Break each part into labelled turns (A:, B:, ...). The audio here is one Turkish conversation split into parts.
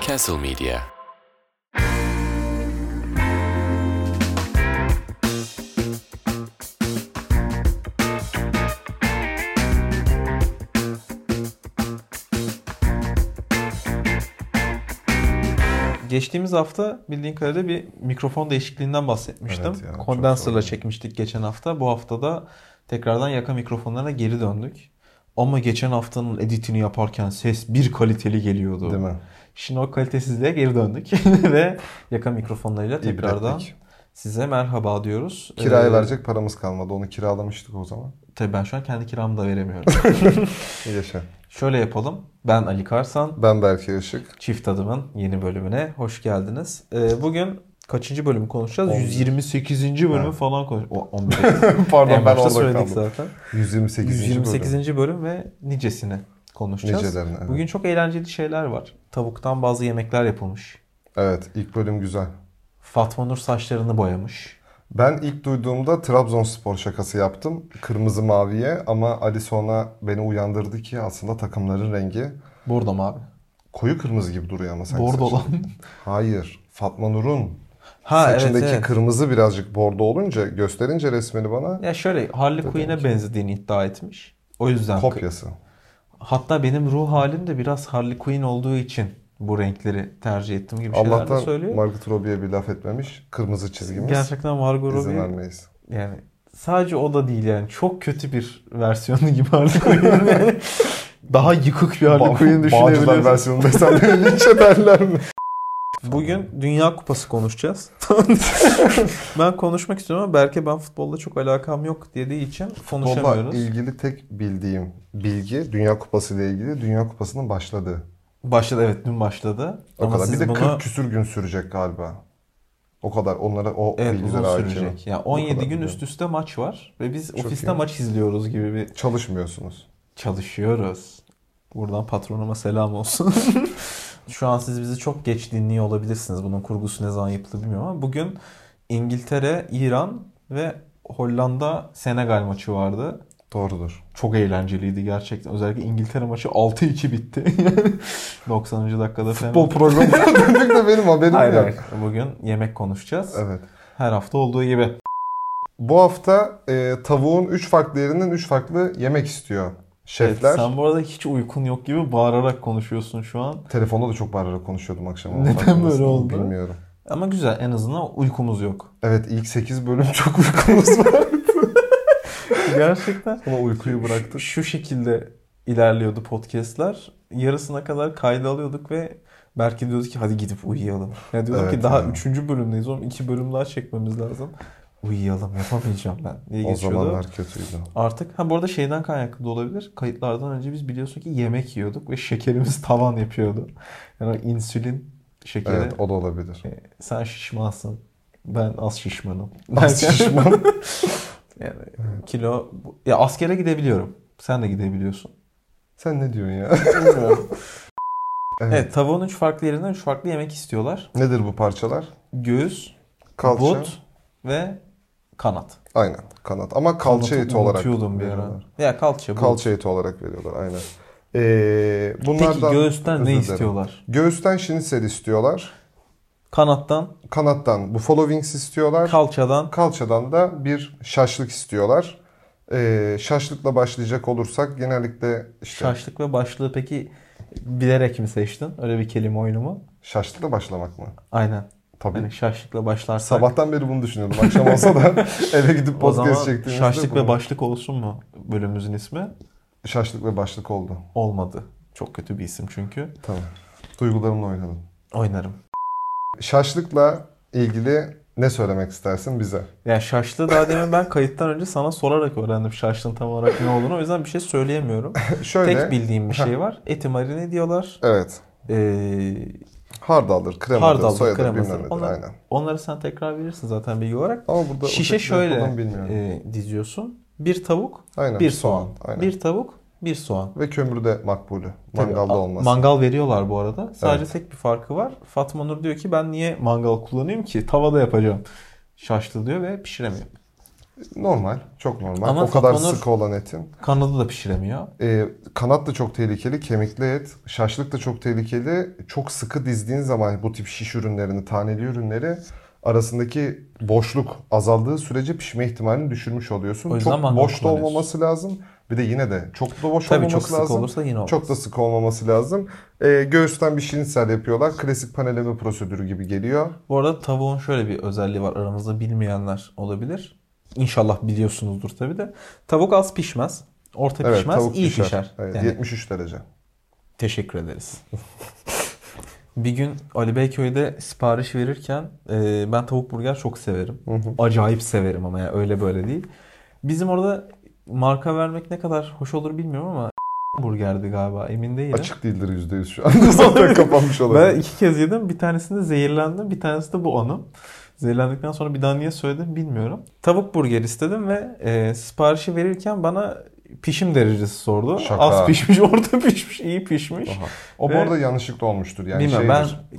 A: Castle Media.
B: Geçtiğimiz hafta bildiğin kadarıyla bir mikrofon değişikliğinden bahsetmiştim.
C: Evet ya, çok
B: Kondenserla
C: sorun.
B: çekmiştik geçen hafta. Bu hafta da tekrardan yaka mikrofonlarına geri döndük. Ama geçen haftanın editini yaparken ses bir kaliteli geliyordu.
C: Değil mi?
B: Şimdi o kalitesizliğe geri döndük ve yaka mikrofonlarıyla tekrardan
C: İbretlik.
B: size merhaba diyoruz.
C: Kiraya
B: Ee,
C: verecek paramız kalmadı. Onu kiralamıştık o zaman.
B: Tabii ben şu an kendi kiramı da veremiyorum.
C: İyi Yaşa.
B: Şöyle yapalım. Ben Ali Karsan.
C: Ben Berke Işık.
B: Çift Adım'ın yeni bölümüne hoş geldiniz. Ee, bugün kaçıncı bölümü konuşacağız?
C: 11.
B: 128. bölümü
C: Evet.
B: falan konuşacağız. 11.
C: Pardon
B: en
C: ben
B: başta
C: orada
B: söyledik
C: kaldım.
B: zaten.
C: 128.
B: 128.
C: bölüm.
B: Bölüm. ve nicesini konuşacağız.
C: Nicelerini, evet.
B: Bugün çok eğlenceli şeyler var. Tavuktan bazı yemekler yapılmış.
C: Evet ilk bölüm güzel.
B: Fatma Nur saçlarını boyamış.
C: Ben ilk duyduğumda Trabzonspor şakası yaptım. Kırmızı maviye ama Ali sonra beni uyandırdı ki aslında takımların rengi
B: Bordo mu abi?
C: koyu kırmızı gibi duruyor ama sanki
B: Bordo
C: saçın.
B: olan.
C: Hayır. Fatma Nur'un
B: Ha evet,
C: saçındaki
B: evet.
C: kırmızı birazcık bordo olunca gösterince resmini bana
B: Ya şöyle Harley Quinn'e benzediğini iddia etmiş. O yüzden
C: kopyası.
B: Hatta benim ruh halim de biraz Harley Quinn olduğu için bu renkleri tercih ettim gibi şeyler de
C: Allah'tan
B: söylüyor.
C: Margot Robbie'ye bir laf etmemiş. Kırmızı çizgimiz.
B: Gerçekten Margot
C: İzin
B: Robbie
C: vermeyiz.
B: yani sadece o da değil yani çok kötü bir versiyonu gibi Harley Quinn'in. Daha yıkık bir Harley Quinn
C: Bağcılar
B: düşünebiliyorsun.
C: versiyonu desem beni linç ederler mi?
B: Bugün Dünya Kupası konuşacağız. ben konuşmak istiyorum ama Berke ben futbolla çok alakam yok dediği için
C: Futbolla
B: konuşamıyoruz.
C: ilgili tek bildiğim bilgi Dünya Kupası ile ilgili Dünya Kupası'nın başladığı.
B: Başladı evet dün başladı.
C: O
B: ama
C: kadar.
B: siz
C: Bir de
B: bunu
C: 40 küsür gün sürecek galiba. O kadar. Onlara o
B: Evet uzun
C: bilgilere hakim.
B: sürecek. Yani
C: O
B: 17
C: kadar
B: gün
C: biliyorum.
B: üst üste maç var ve biz
C: Çok
B: ofiste
C: iyi.
B: maç izliyoruz gibi bir
C: Çalışmıyorsunuz.
B: çalışıyoruz. Buradan patronuma selam olsun. Şu an siz bizi çok geç dinliyor olabilirsiniz. Bunun kurgusu ne zaman yapıldı bilmiyorum ama bugün İngiltere, İran ve Hollanda Senegal maçı vardı.
C: Doğrudur.
B: Çok eğlenceliydi gerçekten. Özellikle İngiltere maçı 6-2 bitti. Yani 90. dakikada fena.
C: Futbol programına döndük de benim haberim
B: Hayır,
C: yok.
B: hayır. Bugün yemek konuşacağız.
C: Evet.
B: Her hafta olduğu gibi.
C: Bu hafta e, tavuğun 3 farklı yerinden 3 farklı yemek istiyor şefler.
B: Evet, sen bu arada hiç uykun yok gibi bağırarak konuşuyorsun şu an.
C: Telefonda da çok bağırarak konuşuyordum akşam. ama
B: Neden
C: farkındasın
B: böyle
C: mı
B: oldu?
C: Bilmiyorum.
B: Ama güzel en azından uykumuz yok.
C: Evet ilk 8 bölüm çok uykumuz var.
B: Gerçekten.
C: Ama uykuyu
B: Şu-
C: bıraktık.
B: Şu şekilde ilerliyordu podcastler. Yarısına kadar kayda alıyorduk ve belki diyorduk ki hadi gidip uyuyalım. Ya diyordum
C: Evet
B: ki daha
C: ya.
B: üçüncü bölümdeyiz oğlum iki bölüm daha çekmemiz lazım. Uyuyalım yapamayacağım ben diye
C: O
B: geçiyordu.
C: zamanlar kötüydü.
B: Artık ha bu arada şeyden kaynaklı da olabilir. Kayıtlardan önce biz biliyorsun ki yemek yiyorduk ve şekerimiz tavan yapıyordu. Yani o insülin şekeri.
C: Evet o da olabilir.
B: E, sen şişmansın. Ben az şişmanım.
C: Az
B: Derken-
C: şişman.
B: Yani kilo ya askere gidebiliyorum. Sen de gidebiliyorsun.
C: Sen ne diyorsun ya? Evet.
B: Evet tavuğun üç farklı yerinden üç farklı yemek istiyorlar.
C: Nedir bu parçalar?
B: Göğüs,
C: Kalça.
B: but ve kanat.
C: Aynen kanat. Ama kalça
B: Kanatı
C: eti olarak
B: unutuyordum bir ara.
C: veriyorlar.
B: Ya kalça, but.
C: Kalça eti olarak veriyorlar aynen. Ee, bunlardan,
B: Peki göğüsten
C: Özür
B: ne
C: dilerim.
B: istiyorlar?
C: Göğüsten şinisel istiyorlar.
B: Kanattan,
C: Kanattan buffalo wings istiyorlar.
B: kalçadan
C: Kalçadan da bir şaşlık istiyorlar. Ee, şaşlıkla başlayacak olursak genellikle işte
B: şaşlık ve başlığı peki bilerek mi seçtin? Öyle bir kelime oyunu mu?
C: şaşlıkla başlamak mı?
B: Aynen.
C: Tabii.
B: Hani şaşlıkla başlarsak.
C: Sabahtan beri bunu düşünüyordum. Akşam olsa da eve gidip
B: o
C: podcast
B: zaman
C: çektiğimizde
B: şaşlık ve
C: bunu-
B: başlık olsun mu bölümümüzün ismi?
C: şaşlık ve başlık oldu.
B: Olmadı. Çok kötü bir isim çünkü.
C: Tamam. Duygularımla oynadım.
B: Oynarım.
C: Şaşlıkla ilgili ne söylemek istersin bize?
B: Ya şaşlı daha demin ben kayıttan önce sana sorarak öğrendim şaşlığın tam olarak ne olduğunu. O yüzden bir şey söyleyemiyorum.
C: Şöyle.
B: Tek bildiğim bir şey var. Eti marine diyorlar.
C: Evet.
B: Ee,
C: Hardaldır, kremadır,
B: hardaldır,
C: soyadır,
B: kremadır.
C: bilmem nedir,
B: Onlar-
C: aynen.
B: onları sen tekrar verirsin zaten bilgi olarak.
C: Ama burada o
B: Şişe
C: şekilde
B: şöyle
C: yapıldığını bilmiyorum.
B: e, diziyorsun. Bir tavuk,
C: aynen.
B: bir soğan.
C: Aynen.
B: Bir tavuk, bir soğan.
C: Ve kömürü de makbulü.
B: Tabii,
C: Mangalda
B: a-
C: olmaz.
B: Mangal veriyorlar bu arada. Sadece tek bir farkı var. Fatma Nur diyor ki ben niye mangal kullanayım ki? Tavada yapacağım. Şaşlı diyor ve pişiremiyor.
C: Normal. Çok normal.
B: Ama
C: o kadar
B: Fatma Nur-
C: sıkı olan etin.
B: Kanadı da pişiremiyor.
C: Ee, kanat da çok tehlikeli, kemikli et. Şaşlık da çok tehlikeli. Çok sıkı dizdiğin zaman bu tip şiş ürünlerini, taneli ürünleri arasındaki boşluk azaldığı sürece pişme ihtimalini düşürmüş oluyorsun.
B: O yüzden
C: Çok
B: mangal
C: boş da
B: kullanıyorsun.
C: olmaması lazım. Bir de yine de çok da boş
B: Tabii çok
C: olmaması
B: sık
C: lazım.
B: olursa yine olmaz.
C: Çok da sık olmaması lazım. Ee, göğüsten bir şinisel yapıyorlar. Klasik paneleme prosedürü gibi geliyor.
B: Bu arada tavuğun şöyle bir özelliği var aramızda bilmeyenler olabilir. İnşallah biliyorsunuzdur tabii de. Tavuk az pişmez. Orta
C: Evet,
B: pişmez,
C: tavuk
B: iyi
C: pişer.
B: pişer.
C: Evet,
B: Yani
C: 73 derece.
B: Teşekkür ederiz. bir gün Ali Beyköy'de sipariş verirken e, ben tavuk burger çok severim. Acayip severim ama yani öyle böyle değil. Bizim orada marka vermek ne kadar hoş olur bilmiyorum ama burgerdi galiba emin değilim.
C: Açık değildir %100 şu anda. Zaten kapanmış olabilir.
B: Ben iki kez yedim. Bir tanesinde zehirlendim. Bir tanesi de bu anım. Zehirlendikten sonra bir daha niye söyledim bilmiyorum. Tavuk burger istedim ve e, siparişi verirken bana pişim derecesi sordu.
C: Şaka.
B: Az pişmiş, orta pişmiş, iyi pişmiş.
C: Aha. O bu
B: Ve-
C: arada yanlışlıkla olmuştur. Yani
B: Bilmem,
C: şeydir,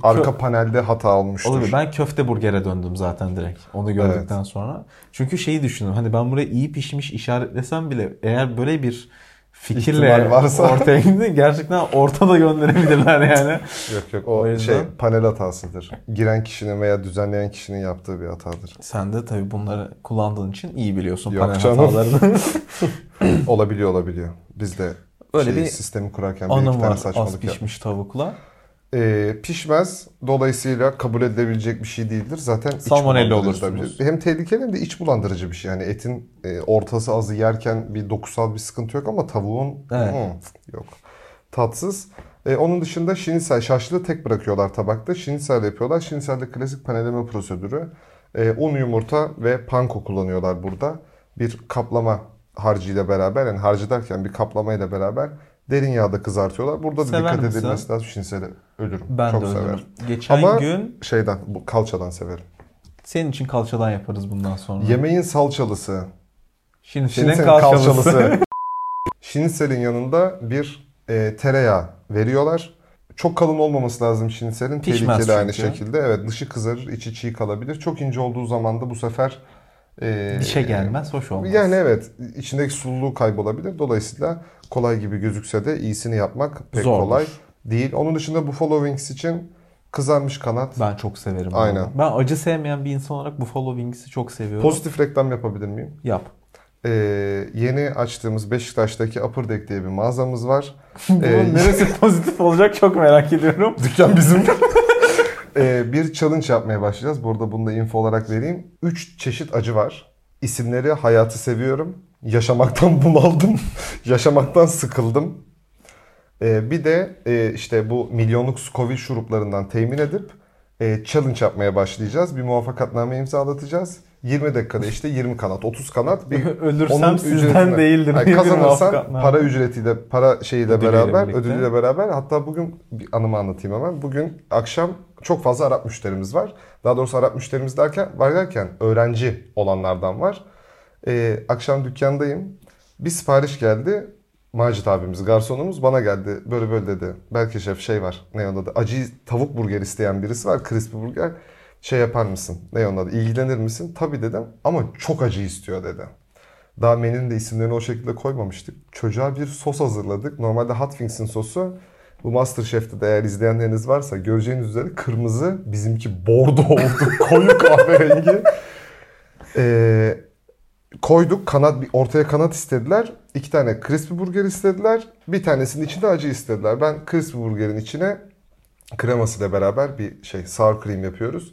B: ben-
C: arka panelde hata olmuştur.
B: Olabilir. Ben köfte burger'e döndüm zaten direkt. Onu gördükten sonra. Çünkü şeyi düşündüm. Hani ben buraya iyi pişmiş işaretlesem bile eğer böyle bir fikirle
C: İhtimal varsa.
B: ortaya gidince gerçekten ortada gönderebilirler yani.
C: Yok yok
B: O
C: o,
B: yüzden-
C: şey panel hatasıdır. Giren kişinin veya düzenleyen kişinin yaptığı bir hatadır.
B: Sen de tabii bunları kullandığın için iyi biliyorsun
C: Yok
B: panel
C: canım.
B: hatalarını.
C: olabiliyor olabiliyor. Biz de
B: Böyle
C: şeyi,
B: bir
C: sistemi kurarken bir iki
B: Anım
C: tane
B: var az şey.
C: saçmalık yaptık.
B: pişmiş tavukla.
C: Ee, pişmez. Dolayısıyla kabul edilebilecek bir şey değildir. Zaten iç
B: Salmonella
C: bulandırıcı da
B: olursunuz.
C: bir- Hem tehlikeli hem de iç bulandırıcı bir şey. Yani etin e, ortası azı yerken bir dokusal bir sıkıntı yok ama tavuğun
B: Evet.
C: hmm, yok. Tatsız. E, onun dışında şinisel şaşlığı tek bırakıyorlar tabakta. Şinisel yapıyorlar. Şinisel de klasik paneleme prosedürü. E, un, yumurta ve panko kullanıyorlar burada. Bir kaplama harcıyla beraber yani harcı derken bir kaplamayla beraber derin yağda kızartıyorlar. Burada da
B: Sever
C: dikkat
B: misin?
C: edilmesi lazım. Şiniseli ölürüm.
B: Ben
C: Çok
B: de
C: severim.
B: öyle. Geçen
C: Ama-
B: gün
C: Şeyden, bu kalçadan severim.
B: senin için kalçadan yaparız bundan sonra.
C: Yemeğin salçalısı.
B: Şimdi senin
C: Şinitsel'in
B: kalçalısı.
C: kalçalısı. Şinitsel'in yanında bir e, tereyağı veriyorlar. Çok kalın olmaması lazım şinitselin.
B: Pişmez
C: Tehlikeli aynı
B: çünkü.
C: şekilde. Evet dışı kızarır, içi çiğ kalabilir. Çok ince olduğu zaman da bu sefer e,
B: Dişe şey gelmez, hoş olmaz.
C: Yani evet içindeki sululuğu kaybolabilir. Dolayısıyla kolay gibi gözükse de iyisini yapmak pek
B: Zordur.
C: kolay değil. Onun dışında Buffalo Wings için kızarmış kanat.
B: Ben çok severim.
C: Aynen.
B: onu. Ben acı sevmeyen bir insan olarak Buffalo Wings'i çok seviyorum.
C: Pozitif reklam yapabilir miyim?
B: Yap.
C: Ee, yeni açtığımız Beşiktaş'taki Upper Deck diye bir mağazamız var.
B: Bunun
C: Ee,
B: neresi pozitif olacak çok merak ediyorum.
C: Dükkan bizim. Ee, bir challenge yapmaya başlayacağız. Burada bunu da info olarak vereyim. 3 çeşit acı var. İsimleri hayatı seviyorum. Yaşamaktan bunaldım. Yaşamaktan sıkıldım. Ee, bir de e, işte bu milyonluk Scoville şuruplarından temin edip e, challenge yapmaya başlayacağız. Bir muvaffakatname imzalatacağız. 20 dakikada işte 20 kanat, 30 kanat. Bir
B: Ölürsem
C: onun
B: sizden
C: ücretine-
B: değildir
C: Yani
B: diye bir
C: kazanırsan
B: muvaffakatname.
C: para ücretiyle, para şeyiyle
B: Ödülüyle
C: beraber,
B: birlikte.
C: ödülüyle beraber. Hatta bugün bir anımı anlatayım hemen. Bugün akşam çok fazla Arap müşterimiz var. Daha doğrusu Arap müşterimiz derken, var derken öğrenci olanlardan var. Ee, akşam dükkandayım. Bir sipariş geldi. Macit abimiz, garsonumuz bana geldi. Böyle böyle dedi. Belki şef şey var. Ne onun adı? Acı tavuk burger isteyen birisi var. Crispy burger. Şey yapar mısın? Ne onun adı? İlgilenir misin? Tabii dedim. Ama çok acı istiyor dedi. Daha menünün de isimlerini o şekilde koymamıştık. Çocuğa bir sos hazırladık. Normalde Hot Wings'in sosu. Bu MasterChef'te de eğer izleyenleriniz varsa göreceğiniz üzere kırmızı bizimki bordo oldu. Koyu kahverengi. Ee, koyduk kanat bir ortaya kanat istediler. İki tane crispy burger istediler. Bir tanesinin içinde acı istediler. Ben crispy burgerin içine kremasıyla beraber bir şey sour cream yapıyoruz.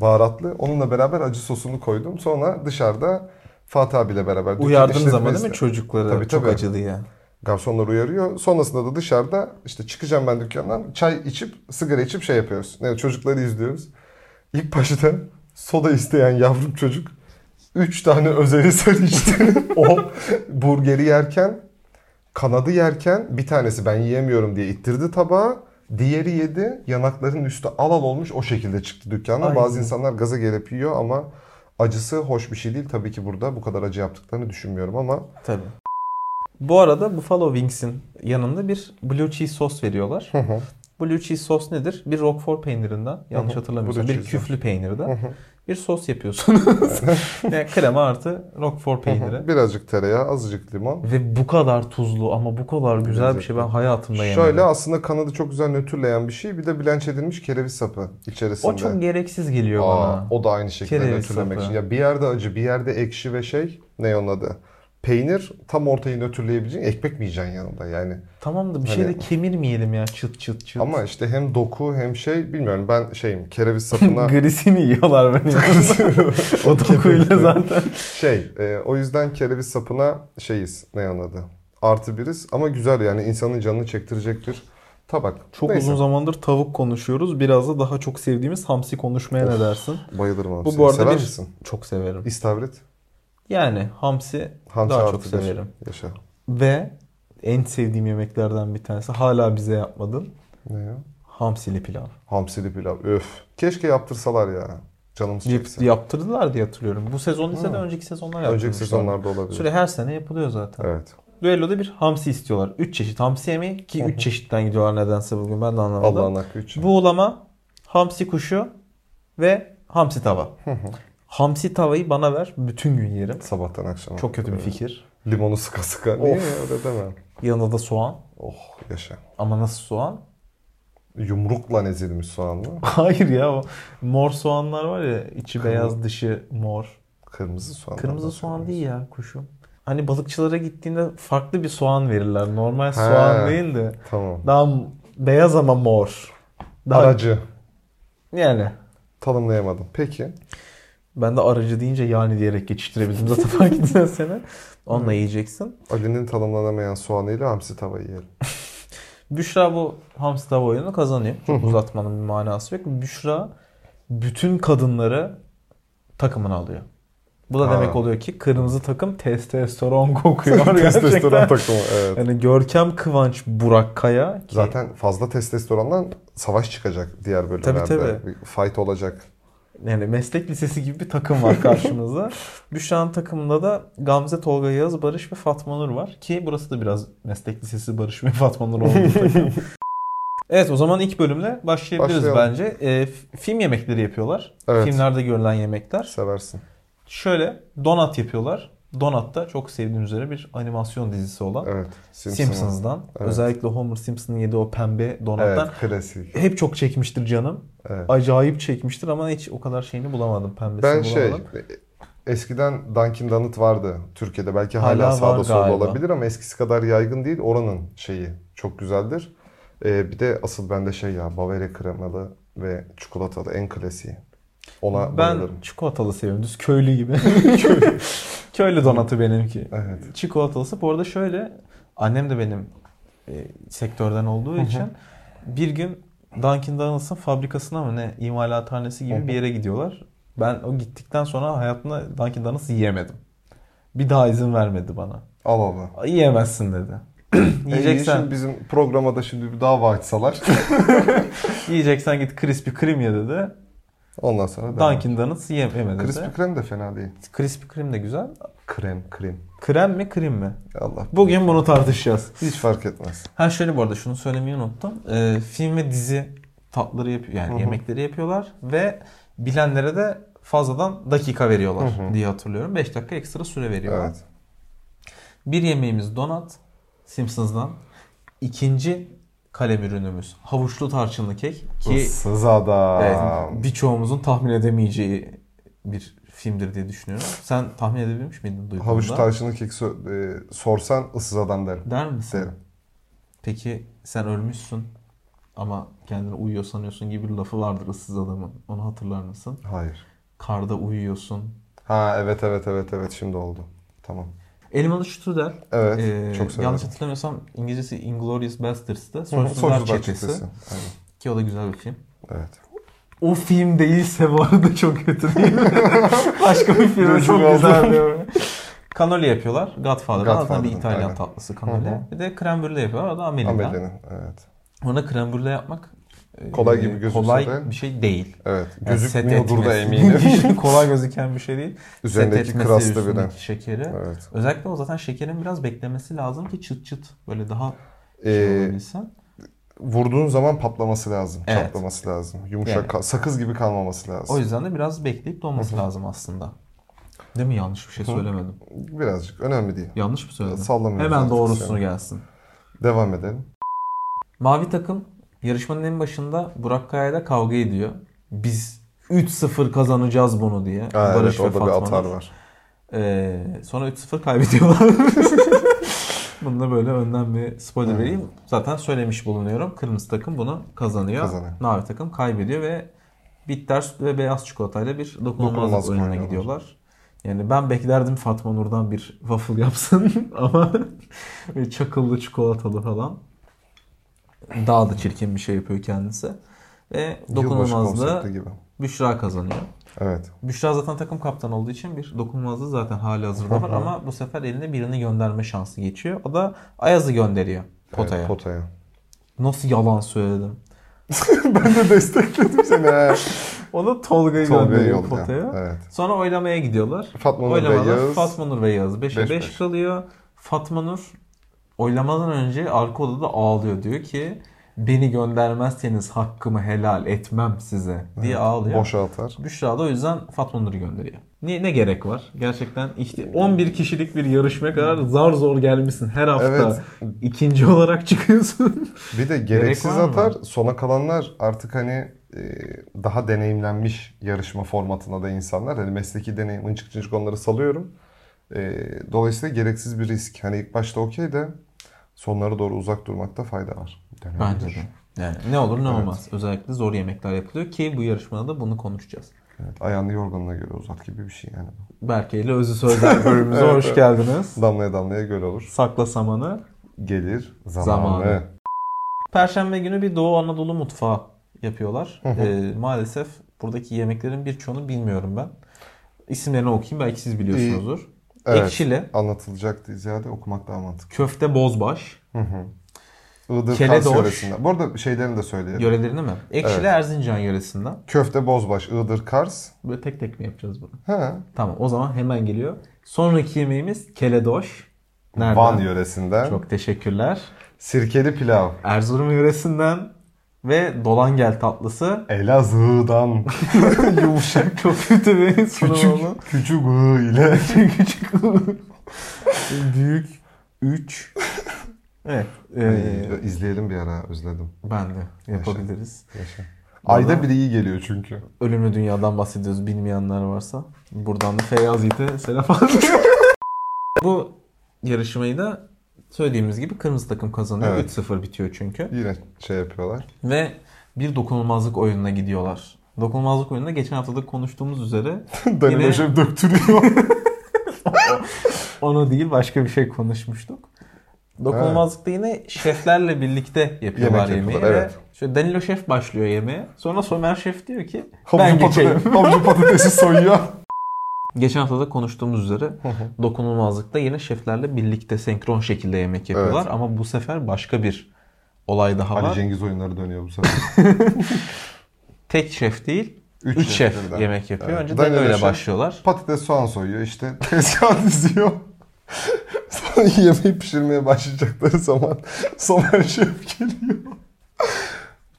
C: Baharatlı. Onunla beraber acı sosunu koydum. Sonra dışarıda Fatih abiyle beraber dükkan
B: Uyardınız ama değil mi
C: işletmesiyle-
B: çocukları?
C: Tabii,
B: Çok
C: tabii.
B: acılı ya.
C: Garsonlar uyarıyor. Sonrasında da dışarıda işte çıkacağım ben dükkandan çay içip sigara içip şey yapıyoruz. Yani çocukları izliyoruz. İlk başta soda isteyen yavrum çocuk 3 tane özeli sarı içti. o burgeri yerken kanadı yerken bir tanesi ben yiyemiyorum diye ittirdi tabağa. Diğeri yedi. Yanakların üstü al al olmuş o şekilde çıktı dükkandan.
B: Ay.
C: Bazı insanlar gaza gelip yiyor ama acısı hoş bir şey değil. Tabii ki burada bu kadar acı yaptıklarını düşünmüyorum ama
B: Tabii. Bu arada Buffalo Wings'in yanında bir blue cheese sos veriyorlar. Blue cheese sos nedir? Bir Roquefort peynirinden yanlış
C: Hı hı.
B: hatırlamıyorsam
C: Blue
B: bir
C: cheese.
B: küflü peynirden. bir sos yapıyorsunuz. yani krema artı roquefort peyniri.
C: Birazcık tereyağı, azıcık limon.
B: Ve bu kadar tuzlu ama bu kadar güzel bir şey ben hayatımda yemedim.
C: Şöyle aslında kanadı çok güzel nötrleyen bir şey. Bir de bilanç edilmiş kereviz sapı içerisinde.
B: o çok gereksiz geliyor
C: Aa,
B: bana.
C: o da aynı şekilde
B: Kereviz
C: nötrlemek
B: sapı.
C: için. Ya bir yerde acı, bir yerde ekşi ve şey ne onun adı? Peynir tam ortayı nötrleyebileceğin ekmek mi yiyeceksin yanında yani.
B: Tamam da bir şey de
C: Hani-
B: kemirmeyelim ya çıt çıt çıt.
C: Ama işte hem doku hem şey bilmiyorum ben şeyim kereviz sapına
B: Grisini yiyorlar beni. o dokuyla zaten.
C: şey e, o yüzden kereviz sapına şeyiz ne onun adı? Artı biriz ama güzel yani insanın canını çektirecektir. Tabak.
B: Çok
C: Neyse,
B: uzun zamandır tavuk konuşuyoruz. Biraz da daha çok sevdiğimiz hamsi konuşmaya ne dersin?
C: Bayılırım hamsiye.
B: Bu bu arada
C: Sever
B: bir...
C: misin?
B: Çok severim.
C: İstavrit.
B: Yani hamsi,
C: Hamsi
B: daha
C: artı
B: çok
C: bir.
B: severim.
C: Yaşa.
B: Ve en sevdiğim yemeklerden bir tanesi. Hala bize yapmadın.
C: Ne ya?
B: Hamsili pilav.
C: Hamsili pilav. Öf. Keşke yaptırsalar ya. Canımız
B: Yap-
C: çekse.
B: yaptırdılar diye hatırlıyorum. Bu sezon ise de önceki sezonlar yaptırmışlar.
C: Önceki sezonlarda olabilir.
B: Süre her sene yapılıyor zaten.
C: Evet.
B: Düelloda bir hamsi istiyorlar. 3 çeşit hamsi yemeği ki 3 çeşitten gidiyorlar nedense bugün ben de anlamadım.
C: Allah'ın hakkı için.
B: Buğulama, hamsi kuşu ve hamsi tava. hamsi tavayı bana ver. Bütün gün yerim.
C: Sabahtan akşama.
B: Çok kötü bir fikir.
C: Limonu sıka sıka. Niye ya öyle deme.
B: Yanında da soğan.
C: Oh yaşa.
B: Ama nasıl soğan?
C: Yumrukla ezilmiş soğanlı.
B: Hayır ya o mor soğanlar var ya içi beyaz dışı mor.
C: Kırmızı soğan.
B: Kırmızı soğan değil ya kuşum. Hani balıkçılara gittiğinde farklı bir soğan verirler. Normal soğan değil de
C: Tamam.
B: daha m- beyaz ama mor. Daha
C: Aracı.
B: yani
C: Tanımlayamadım. Peki.
B: ben de aracı deyince yani diyerek geçiştirebildim zaten fark ettin seni. Onunla yiyeceksin.
C: Ali'nin tanımlanamayan soğanıyla hamsi tava yiyelim.
B: Büşra bu hamster tava oyunu kazanıyor. Çok uzatmanın bir manası yok. Büşra bütün kadınları takımına alıyor. Bu da
C: Ha.
B: demek oluyor ki kırmızı takım testosteron kokuyor
C: Testosteron
B: gerçekten.
C: takımı. Evet.
B: Yani Görkem Kıvanç Burak Kaya ki
C: Zaten fazla testosterondan savaş çıkacak diğer bölümlerde.
B: tabii.
C: Bir fight olacak.
B: yani meslek lisesi gibi bir takım var karşımızda. Büşra'nın takımında da Gamze, Tolga, Yağız, Barış ve Fatma Nur var. Ki burası da biraz meslek lisesi Barış ve Fatma Nur olduğu takım. Evet o zaman ilk bölümle başlayabiliriz
C: Başlayalım.
B: bence. Ee, f- film yemekleri yapıyorlar.
C: Evet.
B: Filmlerde görülen yemekler.
C: Seversin.
B: Şöyle donat yapıyorlar. Donat da çok sevdiğim üzere bir animasyon dizisi olan
C: Evet. Simpsons.
B: Simpsons'dan.
C: Evet.
B: Özellikle Homer Simpson'ın yediği o pembe
C: Evet.
B: donattan.
C: Klasik.
B: Hep çok çekmiştir canım.
C: Evet.
B: Acayip çekmiştir ama hiç o kadar şeyini bulamadım pembesini
C: Ben şey
B: bulamadım.
C: eskiden Dunkin Donut vardı Türkiye'de. Belki hala,
B: Hala var
C: sağda solda
B: galiba.
C: olabilir ama eskisi kadar yaygın değil. Oranın şeyi çok güzeldir. Ee, bir de asıl bende şey ya Bavaria kremalı ve çikolatalı en klasiği. Ona
B: Ben
C: bayılırım.
B: çikolatalı seviyorum. Düz köylü gibi. köylü donatı benimki.
C: Evet.
B: Çikolatalısı. Bu arada şöyle annem de benim e, sektörden olduğu için bir gün Dunkin Donuts'ın fabrikasına mı ne imalathanesi
C: Hı
B: gibi
C: hı.
B: bir yere gidiyorlar. Ben o gittikten sonra hayatımda Dunkin Donuts yiyemedim. Bir daha izin vermedi bana.
C: Al Allah.
B: Yiyemezsin dedi.
C: E, Yiyeceksen.
B: yiyeceksen,
C: bizim programa da şimdi bir dava açsalar.
B: yiyeceksen git Krispy Kreme ye dedi.
C: Ondan sonra devam.
B: Dunkin Donuts yiyemedi
C: Krispy
B: dedi.
C: Kreme de fena değil.
B: Krispy Kreme de güzel.
C: Krem, krem.
B: Krem mi krim mi?
C: Allah.
B: Bugün bunu tartışacağız.
C: Hiç fark etmez.
B: Ha şöyle bu arada şunu söylemeyi unuttum. Ee, film ve dizi tatları yapıyor yani
C: Hı hı.
B: yemekleri yapıyorlar ve bilenlere de fazladan dakika veriyorlar
C: Hı hı.
B: diye hatırlıyorum. 5 dakika ekstra süre veriyorlar.
C: Evet.
B: Bir yemeğimiz donat Simpsons'dan. İkinci kalem ürünümüz havuçlu tarçınlı kek ki
C: Issız adam.
B: evet, Ee, birçoğumuzun tahmin edemeyeceği bir filmdir diye düşünüyorum. Sen tahmin edebilmiş miydin duyduğunda?
C: Havuç tarçınlı kek so- e, sorsan ıssız adam derim.
B: Der misin?
C: Derim.
B: Peki sen ölmüşsün ama kendini uyuyor sanıyorsun gibi bir lafı vardır ıssız adamın. Onu hatırlar mısın?
C: Hayır.
B: Karda uyuyorsun.
C: Ha evet evet evet evet şimdi oldu. Tamam.
B: Elmalı Strudel.
C: Evet
B: eee,
C: çok severim.
B: Ee, yanlış hatırlamıyorsam İngilizcesi Inglourious Basterds'da
C: Hı hı,
B: Soysuzlar
C: Soysuzlar
B: Çetesi.
C: Aynen.
B: Ki o da güzel bir film.
C: Evet.
B: O film değilse bu arada çok kötü değil mi? Başka bir film çok
C: Gözüm
B: güzel.
C: oldu.
B: Kanoli yapıyorlar. Godfather. Zaten bir
C: Godfather'ın,
B: İtalyan
C: aynen.
B: tatlısı
C: Hı
B: kanoli.
C: hı.
B: Bir de krem brûlée yapıyorlar. O da Amelie'den.
C: Amelie'nin evet.
B: Ona krem brûlée yapmak eee,
C: Kolay gibi gözükse
B: kolay
C: de-
B: bir şey değil.
C: Evet.
B: Yani
C: Gözükmüyordur da
B: set etmesi.
C: eminim.
B: Hiç kolay gözüken bir şey değil.
C: Üzerindeki
B: Set etmesi,
C: krasta bir de.
B: üstündeki şekeri.
C: Evet.
B: Özellikle o zaten şekerin biraz beklemesi lazım ki çıt çıt böyle daha şey
C: Ee,
B: olabilsin.
C: vurduğun zaman patlaması lazım,
B: Evet.
C: çatlaması lazım. Yumuşak,
B: Yani.
C: kal- sakız gibi kalmaması lazım.
B: O yüzden de biraz bekleyip donması lazım aslında. Değil mi? Yanlış bir şey söylemedim.
C: Birazcık önemli değil.
B: Yanlış mı söyledim?
C: Sallamıyoruz
B: Hemen
C: artık
B: doğrusunu
C: yani.
B: gelsin.
C: Devam edelim.
B: Mavi takım yarışmanın en başında Burak Kaya'yla kavga ediyor. Biz 3-0 kazanacağız bunu diye.
C: Ha,
B: Barış
C: evet,
B: ve
C: orada bir
B: Fatma'nın.
C: atar var.
B: Ee, sonra 3-0 kaybediyorlar. Bunu da böyle önden bir spoiler vereyim. Zaten söylemiş bulunuyorum. Kırmızı takım bunu kazanıyor.
C: Kazanıyor.
B: Mavi takım kaybediyor ve bitter süt ve beyaz çikolatayla bir dokunulmazlık
C: Dokunulmazlık
B: oyununa
C: oynuyorlar.
B: gidiyorlar. Yani ben beklerdim Fatma Nur'dan bir waffle yapsın ama böyle çakıllı çikolatalı falan. Daha da çirkin bir şey yapıyor kendisi. Ve
C: Yılbaşı
B: dokunulmazlığı
C: konsepti gibi.
B: Büşra kazanıyor.
C: Evet.
B: Büşra zaten takım kaptanı olduğu için bir dokunulmazlığı zaten hali hazırda var ama bu sefer eline birini gönderme şansı geçiyor. O da Ayaz'ı gönderiyor potaya.
C: Evet, potaya.
B: Nasıl yalan söyledim.
C: ben de destekledim seni. he.
B: O da Tolga'yı
C: Tolga'yı
B: gönderiyor
C: yollayan,
B: potaya.
C: evet.
B: Sonra oylamaya gidiyorlar.
C: Fatma Nur ve
B: Oylamalar
C: Yağız.
B: Fatma Nur ve Yağız 5'e
C: Beş
B: 5
C: beş.
B: kalıyor. Fatma Nur oylamadan önce arka odada ağlıyor diyor ki beni göndermezseniz hakkımı helal etmem size diye ağlıyor.
C: Boşa atar.
B: Büşra da o yüzden Fatma Nur'u gönderiyor. Ne, ne gerek var? Gerçekten ihti- 11 kişilik bir yarışmaya kadar zar zor gelmişsin. Her hafta ikinci olarak çıkıyorsun.
C: Bir de gereksiz
B: var mı?
C: atar. Sona kalanlar artık hani e, daha deneyimlenmiş yarışma formatına da insanlar. Hani mesleki deneyim, ıncık cıncık onları salıyorum. E, dolayısıyla gereksiz bir risk. Hani ilk başta okey de sonlara doğru uzak durmakta fayda var. Dönebilir.
B: Bence de. Yani ne olur ne olmaz. Özellikle zor yemekler yapılıyor ki bu yarışmada da bunu konuşacağız.
C: Evet, ayağını yorganına göre uzat gibi bir şey yani.
B: Berke ile Özü Sözler bölümümüze
C: Evet,
B: hoş
C: evet.
B: geldiniz.
C: Damlaya damlaya göl olur.
B: Sakla samanı.
C: Gelir zamanı.
B: Zamanı. Perşembe günü bir Doğu Anadolu mutfağı yapıyorlar. Ee, maalesef buradaki yemeklerin birçoğunu bilmiyorum ben. İsimlerini okuyayım belki siz biliyorsunuzdur.
C: Evet.
B: Ekşili,
C: Anlatılacaktı ziyade okumak daha mantıklı.
B: köfte bozbaş.
C: Iğdır
B: Keledoş.
C: Kars yöresinden. Bu arada şeylerini de söyleyelim.
B: Yörelerini mi? Ekşili Erzincan yöresinden.
C: Köfte Bozbaş, Iğdır Kars.
B: Böyle tek tek mi yapacağız bunu?
C: Ha.
B: Tamam o zaman hemen geliyor. Sonraki yemeğimiz keledoş. Nereden?
C: Van yöresinden.
B: Çok teşekkürler.
C: Sirkeli pilav.
B: Erzurum yöresinden ve dolangel tatlısı.
C: Elazığ'dan
B: Yumuşak çok kötü bir sunum oldu.
C: küçük küçük ı ile
B: Küçük. Büyük 3. Evet. e,
C: Ee, izleyelim bir ara özledim.
B: ben de yapabiliriz.
C: Yaşa. Ayda bir iyi geliyor çünkü.
B: Ölümlü dünyadan bahsediyoruz bilmeyenler varsa. Buradan da Feyyaz Yiğit'e selam olsun. Bu yarışmayı da söylediğimiz gibi kırmızı takım kazanıyor.
C: Evet.
B: 3-0 bitiyor çünkü.
C: Yine şey yapıyorlar.
B: Ve bir dokunulmazlık oyununa gidiyorlar. Dokunulmazlık oyununda geçen hafta da konuştuğumuz üzere
C: Dani Başar'ı döktürüyor.
B: onu değil başka bir şey konuşmuştuk. Dokunulmazlıkta yine şeflerle birlikte yapıyorlar
C: Yemek
B: yemeği.
C: yapıyorlar,
B: ve şöyle Danilo şef başlıyor yemeğe. Sonra Somer şef diyor ki ben
C: Havucu,
B: geçeyim.
C: patates, havucu patatesi soyuyor.
B: Geçen hafta da konuştuğumuz üzere dokunulmazlıkta yine şeflerle birlikte senkron şekilde yemek yapıyorlar.
C: Evet.
B: Ama bu sefer başka bir olay daha
C: Ali
B: var.
C: Cengiz oyunları dönüyor bu sefer.
B: Tek şef değil,
C: Üç
B: üç,
C: şef
B: şef
C: birden.
B: yemek yapıyor.
C: Evet.
B: Önce
C: Danilo
B: Danilo ile
C: şef.
B: başlıyorlar.
C: Patates soğan soyuyor işte. Tezgah diziyor. Sonra yemeği pişirmeye başlayacakları zaman Somer Şef geliyor.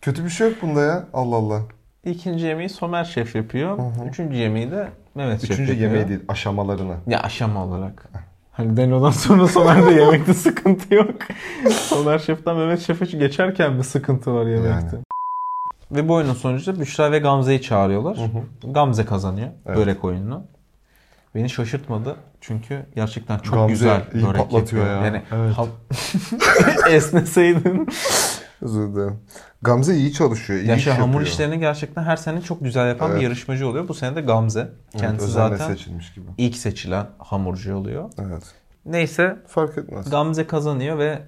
C: Kötü bir şey yok bunda ya. Allah Allah.
B: İkinci yemeği Somer şef yapıyor. Üçüncü yemeği de Mehmet şef
C: Üçüncü
B: yapıyor.
C: yemeği değil aşamalarını.
B: Ya aşama olarak. Hani Danilo'dan sonra Somer'de yemekte sıkıntı yok. Somer Şef'ten Mehmet Şef'e geçerken bir sıkıntı var yemekte. Ve bu oyunun sonucunda Büşra ve Gamze'yi çağırıyorlar. Gamze kazanıyor
C: Evet.
B: börek oyununu. Beni şaşırtmadı çünkü gerçekten çok
C: Gamze
B: güzel
C: iyi
B: börek
C: patlatıyor
B: yapıyor.
C: ya.
B: Yani
C: Evet.
B: hal- esneseydin.
C: Özür dilerim. Gamze iyi çalışıyor. iyi
B: Ya
C: iş
B: şey, hamur
C: yapıyor.
B: işlerini gerçekten her sene çok güzel yapan bir
C: Evet.
B: yarışmacı oluyor. Bu sene de Gamze.
C: Evet,
B: Kendisi
C: özenle
B: zaten
C: seçilmiş gibi.
B: ilk seçilen hamurcu oluyor.
C: Evet.
B: Neyse
C: Fark etmez.
B: Gamze kazanıyor ve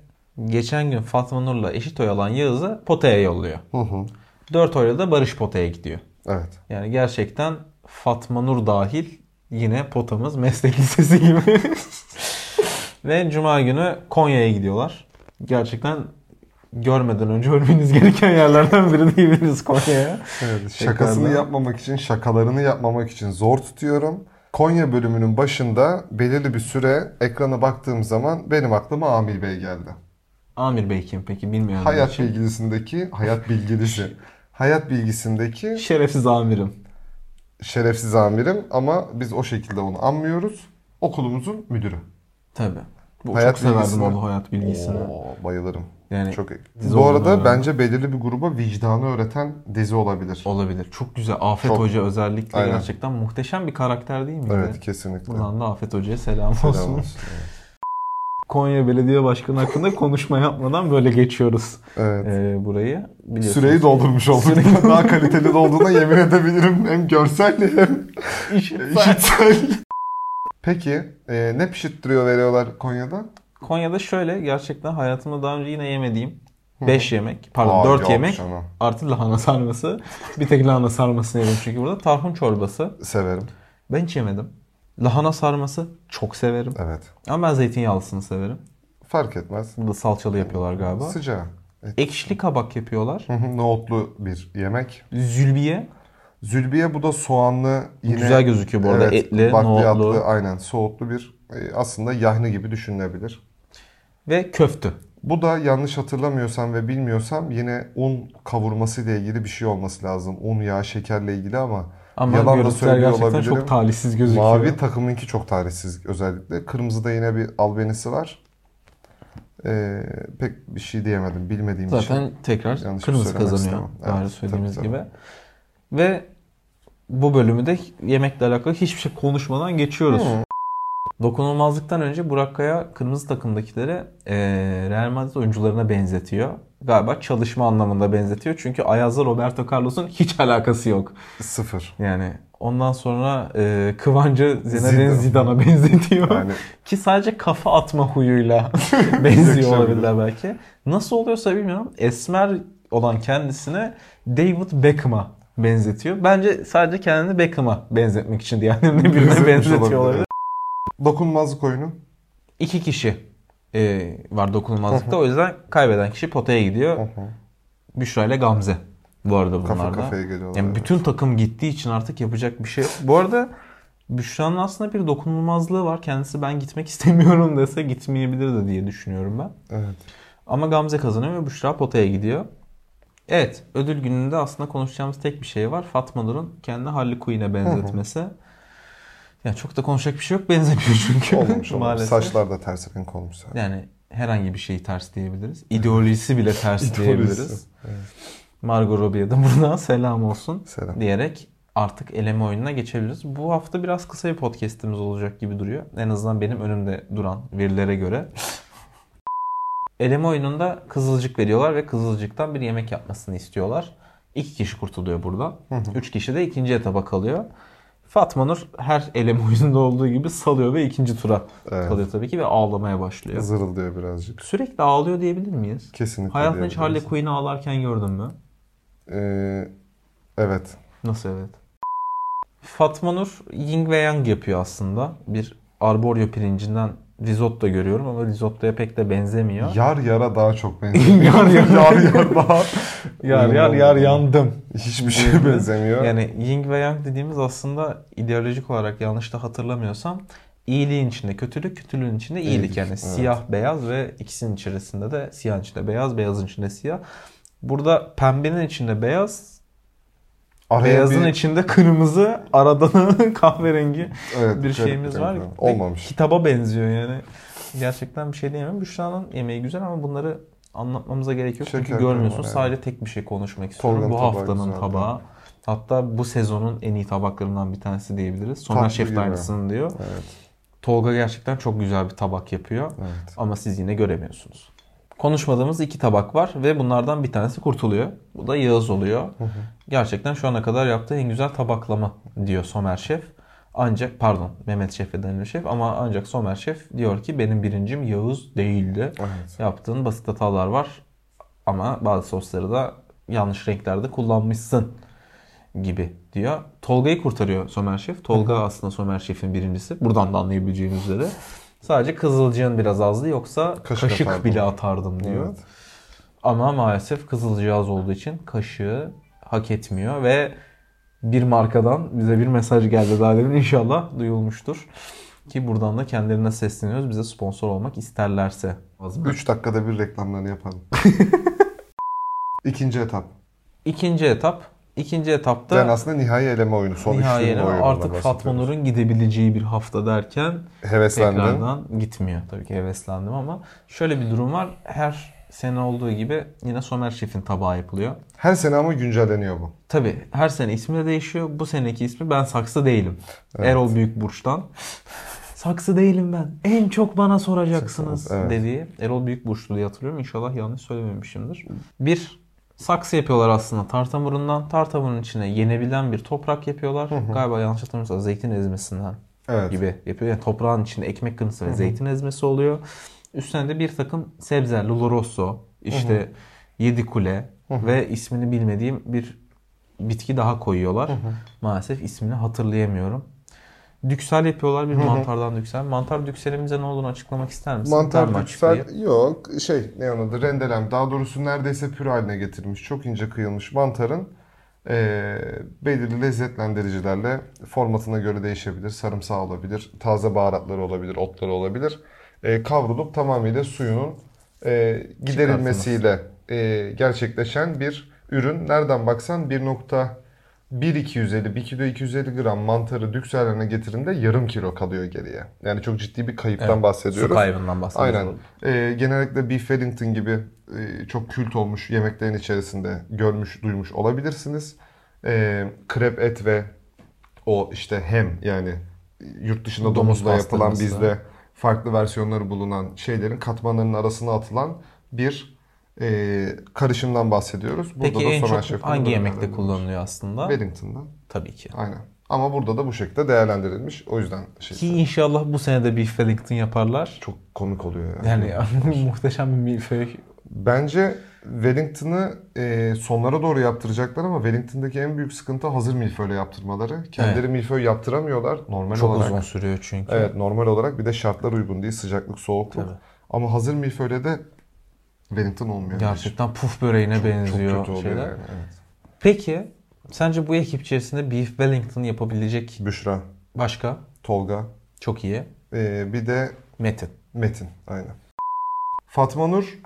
B: geçen gün Fatma Nur'la eşit oy alan Yağız'ı potaya yolluyor.
C: Hı hı.
B: 4 oyla da Barış potaya gidiyor.
C: Evet.
B: Yani gerçekten Fatma Nur dahil yine potamız meslek lisesi gibi. ve cuma günü Konya'ya gidiyorlar. Gerçekten görmeden önce ölmeniz gereken yerlerden biri diyebiliriz Konya'ya.
C: Evet,
B: şey
C: şakasını
B: Tekrardan.
C: yapmamak için, şakalarını yapmamak için zor tutuyorum. Konya bölümünün başında belirli bir süre ekrana baktığım zaman benim aklıma Amil Bey geldi.
B: Amir Bey kim peki bilmiyorum.
C: Hayat bilgisindeki, hayat bilgilisi. hayat bilgisindeki
B: Şerefsiz amirim.
C: şerefsiz amirim ama biz o şekilde onu anmıyoruz. Okulumuzun müdürü.
B: Tabi. Bu
C: Hayat
B: çok severdim
C: bilgisini.
B: onu hayat bilgisini.
C: Oo, bayılırım.
B: Yani
C: Çok iyi.
B: dizi
C: Bu
B: olduğunu
C: arada
B: öğrendim.
C: bence belirli bir gruba vicdanı öğreten dizi olabilir.
B: olabilir. Çok güzel. Afet
C: Çok.
B: Hoca özellikle
C: Aynen.
B: gerçekten muhteşem bir karakter değil miydi?
C: Evet kesinlikle.
B: Buradan da Afet Hoca'ya selam
C: Selam
B: olsun. Konya Belediye Başkanı hakkında konuşma yapmadan böyle geçiyoruz
C: Evet.
B: ee, burayı. Biliyorsunuz.
C: Süreyi doldurmuş olduk.
B: Süreyi-
C: Daha kaliteli de olduğuna yemin edebilirim. Hem görsel hem işitsel. Peki e, ne pişirttiriyor veriyorlar Konya'da?
B: Konya'da şöyle gerçekten hayatımda daha önce yine yemediğim 5 yemek,
C: Aa,
B: pardon 4
C: yok
B: yemek
C: canım.
B: artı lahana sarması. Bir tek lahana sarmasını yedim çünkü burada. Tarhun çorbası.
C: Severim.
B: Ben hiç yemedim. Lahana sarması çok severim.
C: Evet.
B: Ama ben zeytinyağlısını severim.
C: Fark etmez.
B: Burada salçalı yapıyorlar galiba.
C: Sıcağı.
B: Ekşili kabak yapıyorlar.
C: Hı hı, Nohutlu bir yemek.
B: Zülbiye
C: Zülbiye bu da soğanlı yine
B: güzel gözüküyor bu arada.
C: Evet,
B: Etli,
C: bakliyatlı,
B: nohutlu
C: aynen soğutlu bir e, aslında yahni gibi düşünülebilir.
B: ve köftü.
C: Bu da yanlış hatırlamıyorsam ve bilmiyorsam yine un kavurması ile ilgili bir şey olması lazım. Un, yağ, şekerle ilgili ama
B: Ama
C: Yalan da
B: görüntüler
C: söylüyor
B: gerçekten
C: olabilirim.
B: çok talihsiz gözüküyor.
C: mavi takımınki çok tarihsiz özellikle. Kırmızıda yine bir albenisi var. Ee, pek bir şey diyemedim bilmediğim için.
B: Zaten tekrar
C: Yanlış
B: kırmızı
C: söylemek
B: kazanıyor.
C: istemem.
B: Bari
C: Evet,
B: söylediğimiz
C: tabii,
B: gibi. Ve bu bölümü de yemekle alakalı hiçbir şey konuşmadan geçiyoruz.
C: Hı.
B: Dokunulmazlıktan önce Burak Kaya kırmızı takımdakileri eee Real Madrid oyuncularına benzetiyor. Galiba çalışma anlamında benzetiyor. Çünkü Ayaz'la Roberto Carlos'un hiç alakası yok.
C: Sıfır.
B: Yani ondan sonra eee Kıvancı Zinedine
C: Zidane.
B: Zidane'a benzetiyor.
C: Yani
B: Ki sadece kafa atma huyuyla benziyor
C: Yakışabilir.
B: olabilirler belki. Nasıl oluyorsa bilmiyorum. Esmer olan kendisine David Beckham'a benzetiyor. Bence sadece kendini Beckham'a benzetmek için diye annemle birine
C: Benzetmiş
B: benzetiyor
C: olabilir.
B: olabilir.
C: dokunmazlık oyunu.
B: İki kişi e, var dokunulmazlıkta. o yüzden kaybeden kişi potaya
C: Hı
B: gidiyor.
C: hı.
B: Büşra ile Gamze bu arada bunlarda.
C: Kafa kafaya geliyorlar.
B: Yani bütün takım gittiği için artık yapacak bir şey. Bu arada Büşra'nın aslında bir dokunulmazlığı var. Kendisi ben gitmek istemiyorum dese gitmeyebilirdi diye düşünüyorum ben.
C: Evet.
B: Ama Gamze kazanıyor ve Büşra potaya gidiyor. Evet ödül gününde aslında konuşacağımız tek bir şey var. Fatma Nur'un kendini Harley Quinn'e benzetmesi. Yani çok da konuşacak bir şey yok benzemiyor çünkü.
C: Olmamış olmamış.
B: Maalesef.
C: Saçlar da ters renk olmuş zaten.
B: Yani herhangi bir şeyi ters diyebiliriz. İdeolojisi bile ters
C: İdeolojisi.
B: diyebiliriz. Margot Robbie'ye de buradan selam olsun
C: Selam.
B: diyerek artık eleme oyununa geçebiliriz. Bu hafta biraz kısa bir podcast'imiz olacak gibi duruyor. En azından benim önümde duran verilere göre. eleme oyununda kızılcık veriyorlar ve kızılcıktan bir yemek yapmasını istiyorlar. İki kişi kurtuluyor burada. Üç kişi de ikinci etaba kalıyor. Fatma Nur her eleme oyununda olduğu gibi salıyor ve ikinci tura
C: Evet.
B: kalıyor tabii ki ve ağlamaya başlıyor.
C: Zırıldıyor birazcık.
B: Sürekli ağlıyor diyebilir miyiz?
C: Kesinlikle
B: Hayatında hiç Harley
C: diyebiliriz.
B: Quinn'i ağlarken gördün mü?
C: Ee, evet.
B: Nasıl evet? Fatma Nur Ying ve Yang yapıyor aslında. Bir arborio pirincinden risotto görüyorum ama risottoya pek de benzemiyor.
C: Yar yara daha çok benziyor.
B: Yar yara.
C: yar yar daha.
B: yar yar yar yandım.
C: Hiçbir şeye benzemiyor.
B: Yani Ying ve Yang dediğimiz aslında ideolojik olarak yanlış da hatırlamıyorsam iyiliğin içinde kötülük, kötülüğün içinde iyilik.
C: İyilik,
B: yani
C: evet.
B: siyah, beyaz ve ikisinin içerisinde de siyahın içinde beyaz, beyazın içinde siyah. Burada pembenin içinde beyaz,
C: Araya
B: beyazın
C: bir-
B: içinde kırmızı, aradan kahverengi.
C: evet,
B: bir
C: garip,
B: şeyimiz
C: garip,
B: var.
C: garip. Olmamış.
B: Kitaba benziyor yani. Gerçekten bir şey diyemem. Büşra'nın yemeği güzel ama bunları anlatmamıza gerek yok.
C: Şeker
B: Çünkü görmüyorsun.
C: kırma yani.
B: Sadece tek bir şey konuşmak istiyorum.
C: Tolga'nın
B: bu
C: tabağı
B: haftanın
C: güzel.
B: tabağı. Hatta bu sezonun en iyi tabaklarından bir tanesi diyebiliriz. Soner
C: Tatlı
B: Şef de
C: gibi.
B: aynısını diyor.
C: Evet.
B: Tolga gerçekten çok güzel bir tabak yapıyor.
C: Evet.
B: Ama siz yine göremiyorsunuz. Konuşmadığımız iki tabak var ve bunlardan bir tanesi kurtuluyor. Bu da Yağız oluyor. Gerçekten şu ana kadar yaptığı en güzel tabaklama diyor Somer Şef. Ancak pardon Mehmet Şef ve Danilo Şef ama ancak Somer Şef diyor ki benim birincim Yağız değildi.
C: Evet.
B: Yaptığın basit hatalar var ama bazı sosları da yanlış renklerde kullanmışsın gibi diyor. Tolga'yı kurtarıyor Somer Şef. Tolga aslında Somer Şef'in birincisi. Buradan da anlayabileceğiniz üzere. Sadece kızılcığın biraz azdı yoksa
C: Kaşık
B: kaşık,
C: atardım.
B: bile atardım diyor.
C: Evet.
B: Ama maalesef kızılcığı az olduğu için kaşığı hak etmiyor ve bir markadan bize bir mesaj geldi daha demin inşallah duyulmuştur. Ki buradan da kendilerine sesleniyoruz. Bize sponsor olmak isterlerse.
C: 3 dakikada bir reklamlarını yapalım. İkinci etap.
B: İkinci etap. İkinci etapta
C: Yani aslında nihai eleme oyunu. Son
B: nihai
C: üçlü
B: eleme
C: oyunu.
B: artık Fatma Nur'un gidebileceği bir hafta derken
C: Heveslendin.
B: tekrardan gitmiyor. Tabii ki heveslendim ama şöyle bir durum var. Her sene olduğu gibi yine Somer Şef'in tabağı yapılıyor.
C: Her sene ama güncelleniyor bu.
B: Tabii her sene ismi de değişiyor. Bu seneki ismi ben saksı değilim. Erol Büyükburç'tan. Saksı değilim ben. En çok bana soracaksınız
C: Evet.
B: dediği Erol Büyükburçlu diye hatırlıyorum. İnşallah yanlış söylememişimdir. Bir saksı yapıyorlar aslında tartamurundan. Tartamurun içine yenebilen bir toprak yapıyorlar. Galiba yanlış hatırlamıyorsam zeytin ezmesinden
C: Evet.
B: gibi yapıyor. Yani toprağın içinde ekmek kırıntısı ve zeytin ezmesi oluyor. Üstüne de bir takım sebzeler, lulorosso, işte yedi kule ve ismini bilmediğim bir bitki daha koyuyorlar. Maalesef ismini hatırlayamıyorum. Düksel yapıyorlar bir mantardan düksel. Mantar dükselimize ne olduğunu açıklamak ister misin? Ben mi
C: Mantar
B: açıklayayım?
C: düksel yok. Şey ne onun adı rendelem. Daha doğrusu neredeyse püre haline getirmiş. Çok ince kıyılmış mantarın eee, belirli lezzetlendiricilerle formatına göre değişebilir. Sarımsağı olabilir. Taze baharatları olabilir. Otları olabilir. Eee, kavrulup tamamıyla suyunun eee, giderilmesiyle eee, gerçekleşen bir ürün. Nereden baksan 1.1250 1 kilo 250 gram mantarı düksel haline getirinde yarım kilo kalıyor geriye. Yani çok ciddi bir kayıptan
B: Evet, Su
C: bahsediyoruz.
B: kaybından bahsediyoruz.
C: Aynen. Ee, genellikle Beef Wellington gibi e, çok kült olmuş yemeklerin içerisinde görmüş, duymuş olabilirsiniz. Ee, krep et ve o işte hem yani yurt dışında
B: Domuz
C: domuzla yapılan
B: pastırması.
C: bizde farklı versiyonları bulunan şeylerin katmanlarının arasına atılan bir e, karışımdan bahsediyoruz. Burada
B: Peki
C: da
B: en
C: Somer
B: çok
C: Şef'in
B: hangi
C: bunu
B: yemekte
C: değerlendirmiş.
B: kullanılıyor aslında?
C: Wellington'dan.
B: Tabii ki.
C: Aynen. Ama burada da bu şekilde değerlendirilmiş. O yüzden şey
B: Ki inşallah bu sene de bir Wellington yaparlar.
C: çok komik oluyor yani.
B: Yani muhteşem bir milföy
C: Bence Wellington'ı e, sonlara doğru yaptıracaklar ama Wellington'daki en büyük sıkıntı hazır milföyle yaptırmaları. Kendileri
B: Evet.
C: milföy yaptıramıyorlar normal
B: Çok
C: olarak.
B: uzun sürüyor çünkü.
C: Evet normal olarak bir de şartlar uygun değil sıcaklık soğukluk.
B: Tabii.
C: Ama hazır milföyle de Wellington olmuyor.
B: Gerçekten puf böreğine benziyor
C: Çok kötü oluyor
B: şeyler.
C: yani. Evet.
B: Peki sence bu ekip içerisinde Beef Wellington yapabilecek
C: Büşra,
B: başka?
C: Tolga
B: Çok iyi.
C: e, bir de
B: Metin.
C: Metin aynen. Fatma Nur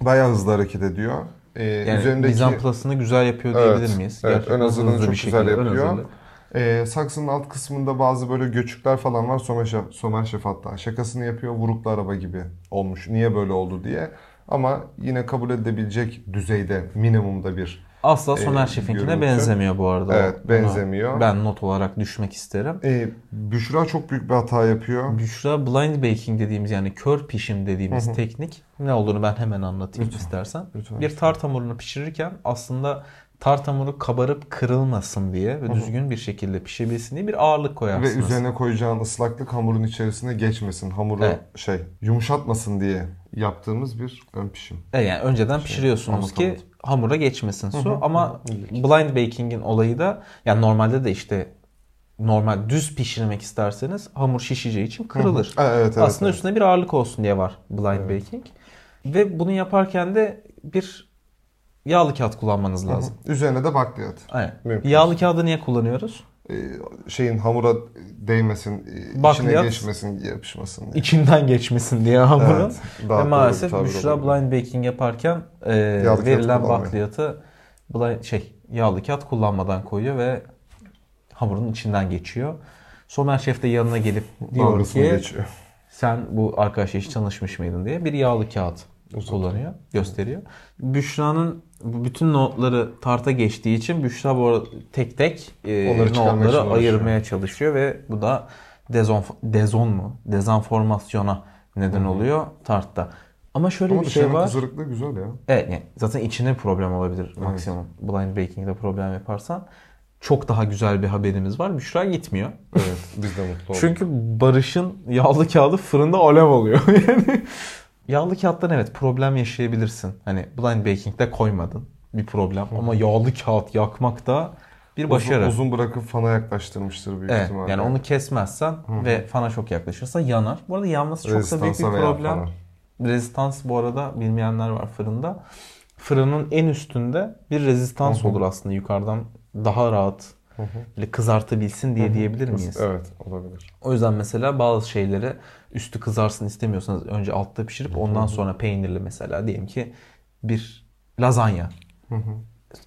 C: bayağı hızlı hareket ediyor. E,
B: Yani
C: üzerindeki...
B: mizanplasını güzel yapıyor diyebilir
C: Evet,
B: miyiz?
C: evet.
B: Gerçekten
C: Ön hazırlığını
B: hızlı
C: çok
B: bir
C: güzel
B: şekilde ön
C: yapıyor.
B: hazırlık.
C: Ee, saksının alt kısmında bazı böyle göçükler falan var. Somer Şef, Somer Şef hatta şakasını yapıyor. Vuruklu araba gibi olmuş. Niye böyle oldu diye. Ama yine kabul edilebilecek düzeyde minimumda bir.
B: Asla Soner
C: Ee,
B: Şef'inkine
C: görüntü.
B: benzemiyor bu arada.
C: Evet,
B: Ona
C: benzemiyor.
B: Ben not olarak düşmek isterim.
C: Ee, Büşra çok büyük bir hata yapıyor.
B: Büşra blind baking dediğimiz yani kör pişim dediğimiz teknik ne olduğunu ben hemen anlatayım istersen.
C: Lütfen.
B: Bir tart hamurunu pişirirken aslında tart hamuru kabarıp kırılmasın diye ve düzgün bir şekilde pişebilsin diye bir ağırlık
C: Ve
B: koyarsınız.
C: üzerine koyacağın ıslaklık hamurun içerisine geçmesin. Hamuru
B: Evet.
C: şey yumuşatmasın diye yaptığımız bir ön pişim.
B: E Yani önceden pişiriyorsunuz ki
C: Şey, anlatamadım.
B: hamura geçmesin su ama blind baking'in olayı da yani normalde de işte normal düz pişirmek isterseniz hamur şişeceği için kırılır.
C: Ee, Evet evet.
B: Aslında
C: evet.
B: üstüne bir ağırlık olsun diye var blind baking. Ve bunu yaparken de bir yağlı kağıt kullanmanız lazım.
C: Üzerine de bakliyat.
B: Aynen.
C: Mümkün.
B: Yağlı kağıdı niye kullanıyoruz?
C: Şeyin hamura değmesin, e, içine
B: Bakliyat.
C: geçmesin, yapışmasın diye.
B: İçinden geçmesin diye hamurun.
C: Evet,
B: Ve
C: daha doğru bir
B: maalesef
C: tabir
B: Büşra
C: olabilir.
B: blind baking yaparken e,
C: kağıt
B: verilen
C: kullanmıyor.
B: bakliyatı blind, şey, yağlı kağıt kullanmadan koyuyor ve hamurun içinden geçiyor. Somer Şef de yanına gelip diyor
C: Dalgasını
B: ki
C: geçiyor.
B: sen bu arkadaşla hiç tanışmış mıydın diye bir yağlı kağıt kullanıyor, gösteriyor. Büşra'nın bu bütün notları tarta geçtiği için Büşra bu arada tek tek e,
C: Onları çıkarmaya
B: notları
C: çalışıyor.
B: ayırmaya çalışıyor ve bu da dezon dezon mu? Dezenformasyona neden oluyor tartta. Ama şöyle
C: Ama
B: bir şey
C: dışarının
B: var.
C: kızarıklığı güzel ya.
B: Evet yani zaten içine problem olabilir maksimum. Blind baking'de problem yaparsan. Çok daha güzel bir haberimiz var. Büşra gitmiyor.
C: Evet biz de mutlu olduk.
B: Çünkü Barış'ın yağlı kağıdı fırında alev alıyor. yani yağlı kağıttan evet problem yaşayabilirsin. Hani blind baking'de koymadın bir problem ama yağlı kağıt yakmak da bir başarı.
C: Uzun, uzun bırakıp fana yaklaştırmıştır büyük
B: Evet,
C: ihtimalle.
B: yani onu kesmezsen ve fana çok yaklaşırsa yanar. Bu arada yanması çok da büyük bir
C: Rezistansa veya
B: problem.
C: fana.
B: Rezistans bu arada bilmeyenler var fırında. Fırının en üstünde bir rezistans olur aslında yukarıdan daha rahat böyle kızartabilsin diye diyebilir miyiz?
C: Evet olabilir.
B: O yüzden mesela bazı şeyleri üstü kızarsın istemiyorsanız önce altta pişirip ondan sonra peynirli mesela diyelim ki bir lazanya.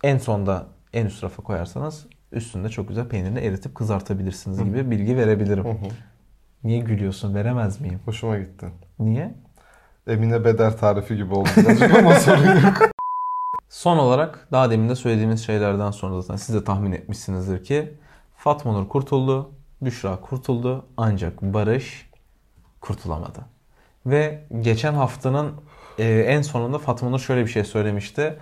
B: En sonda en üst rafa koyarsanız üstünde çok güzel peynirini eritip kızartabilirsiniz gibi bilgi verebilirim. Niye gülüyorsun? Veremez miyim?
C: Hoşuma gitti.
B: Niye?
C: Emine Beder tarifi gibi oldu birazcık ama sorun yok.
B: Son olarak daha demin de söylediğimiz şeylerden sonra zaten siz de tahmin etmişsinizdir ki Fatma Nur kurtuldu, Büşra kurtuldu ancak Barış kurtulamadı. Ve geçen haftanın e, en sonunda Fatma Nur şöyle bir şey söylemişti.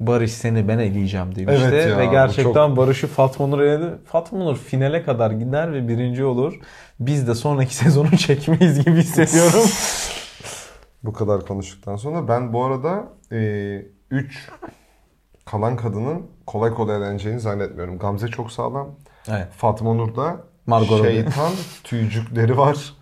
B: Barış seni ben eleyeceğim demişti.
C: Evet ya,
B: ve
C: bu
B: gerçekten Barış'ı Fatma Nur eledi. Fatma Nur finale kadar gider ve birinci olur. Biz de sonraki sezonu çekmeyiz gibi hissediyorum.
C: Bu kadar konuştuktan sonra ben bu arada 3 kalan kadının kolay kolay eğleneceğini zannetmiyorum. Gamze çok sağlam.
B: evet.
C: Fatma Nur'da
B: Margot Robbie.
C: şeytan tüycükleri var.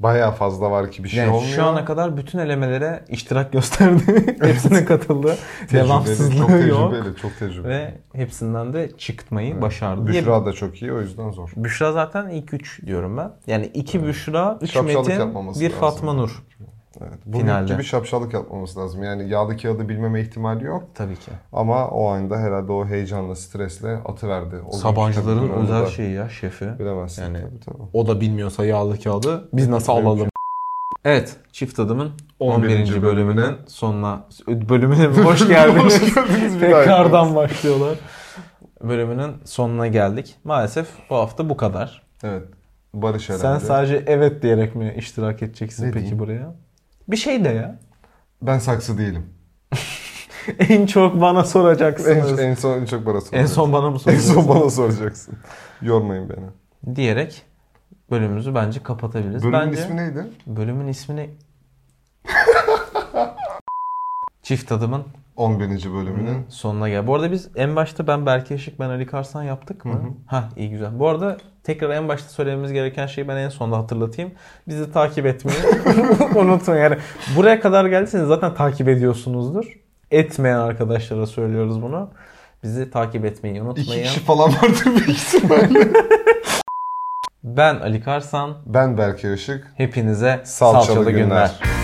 C: Bayağı fazla var ki bir şey
B: Yani
C: olmuyor.
B: şu ana kadar bütün elemelere iştirak gösterdi. Hepsine katıldı.
C: Tecrübeli, çok
B: Devamsızlığı
C: tecrübeli,
B: yok.
C: çok tecrübeli.
B: Ve hepsinden de çıkmayı başardı. diye-
C: Büşra da çok iyi o yüzden zor.
B: Büşra zaten ilk üç diyorum ben. Yani iki Büşra, üç
C: Şapşallık
B: Metin,
C: yapmaması
B: bir
C: lazım.
B: Fatma Nur.
C: Evet. Bu
B: Finalde.
C: gibi şapşalık yapmaması lazım. Yani yağlı kağıdı bilmeme ihtimali yok.
B: Tabii ki.
C: Ama o anda herhalde o heyecanla, stresle atıverdi. O günkü
B: Sabancıların
C: tabii durumu
B: özel
C: da
B: şeyi ya şefi.
C: Bilemezsin
B: Yani-
C: tabii tabii.
B: O da bilmiyorsa yağlı kağıdı biz nasıl
C: Mümkün.
B: alalım? Evet, Çift Adım'ın 11.
C: 11.
B: bölümünün sonuna bölümüne mi? hoş geldiniz.
C: Hoş geldiniz, bir daha
B: Tekrardan başlıyorlar. Bölümünün sonuna geldik. Maalesef bu hafta bu kadar.
C: Evet. Barış herhalde.
B: Sen sadece evet diyerek mi iştirak edeceksin
C: Ne
B: peki
C: diyeyim?
B: buraya? Bir şey de ya.
C: Ben saksı değilim.
B: En çok bana
C: En,
B: soracaksınız. En,
C: en son en çok bana soracaksın.
B: son bana mı
C: en
B: soracaksın?
C: son bana soracaksın. Yormayın beni.
B: diyerek bölümümüzü bence kapatabiliriz.
C: Bölümün
B: bence
C: ismi neydi?
B: bölümün ismini Çift Adım'ın
C: 11. bölümünün.
B: Sonuna gel. Bu arada biz en başta ben Berke Işık, ben Ali Karsan yaptık mı? Ha iyi güzel. Bu arada tekrar en başta söylememiz gereken şeyi ben en sonda hatırlatayım. Bizi takip etmeyi unutmayın. Yani buraya kadar geldiyseniz zaten takip ediyorsunuzdur. Etmeyen arkadaşlara söylüyoruz bunu. Bizi takip etmeyi
C: İki
B: unutmayın.
C: kişi falan vardır bir ikisi böyle.
B: Ben Ali Karsan.
C: Ben Berke Işık.
B: Hepinize
C: Salçalı
B: salçalı günler.
C: günler.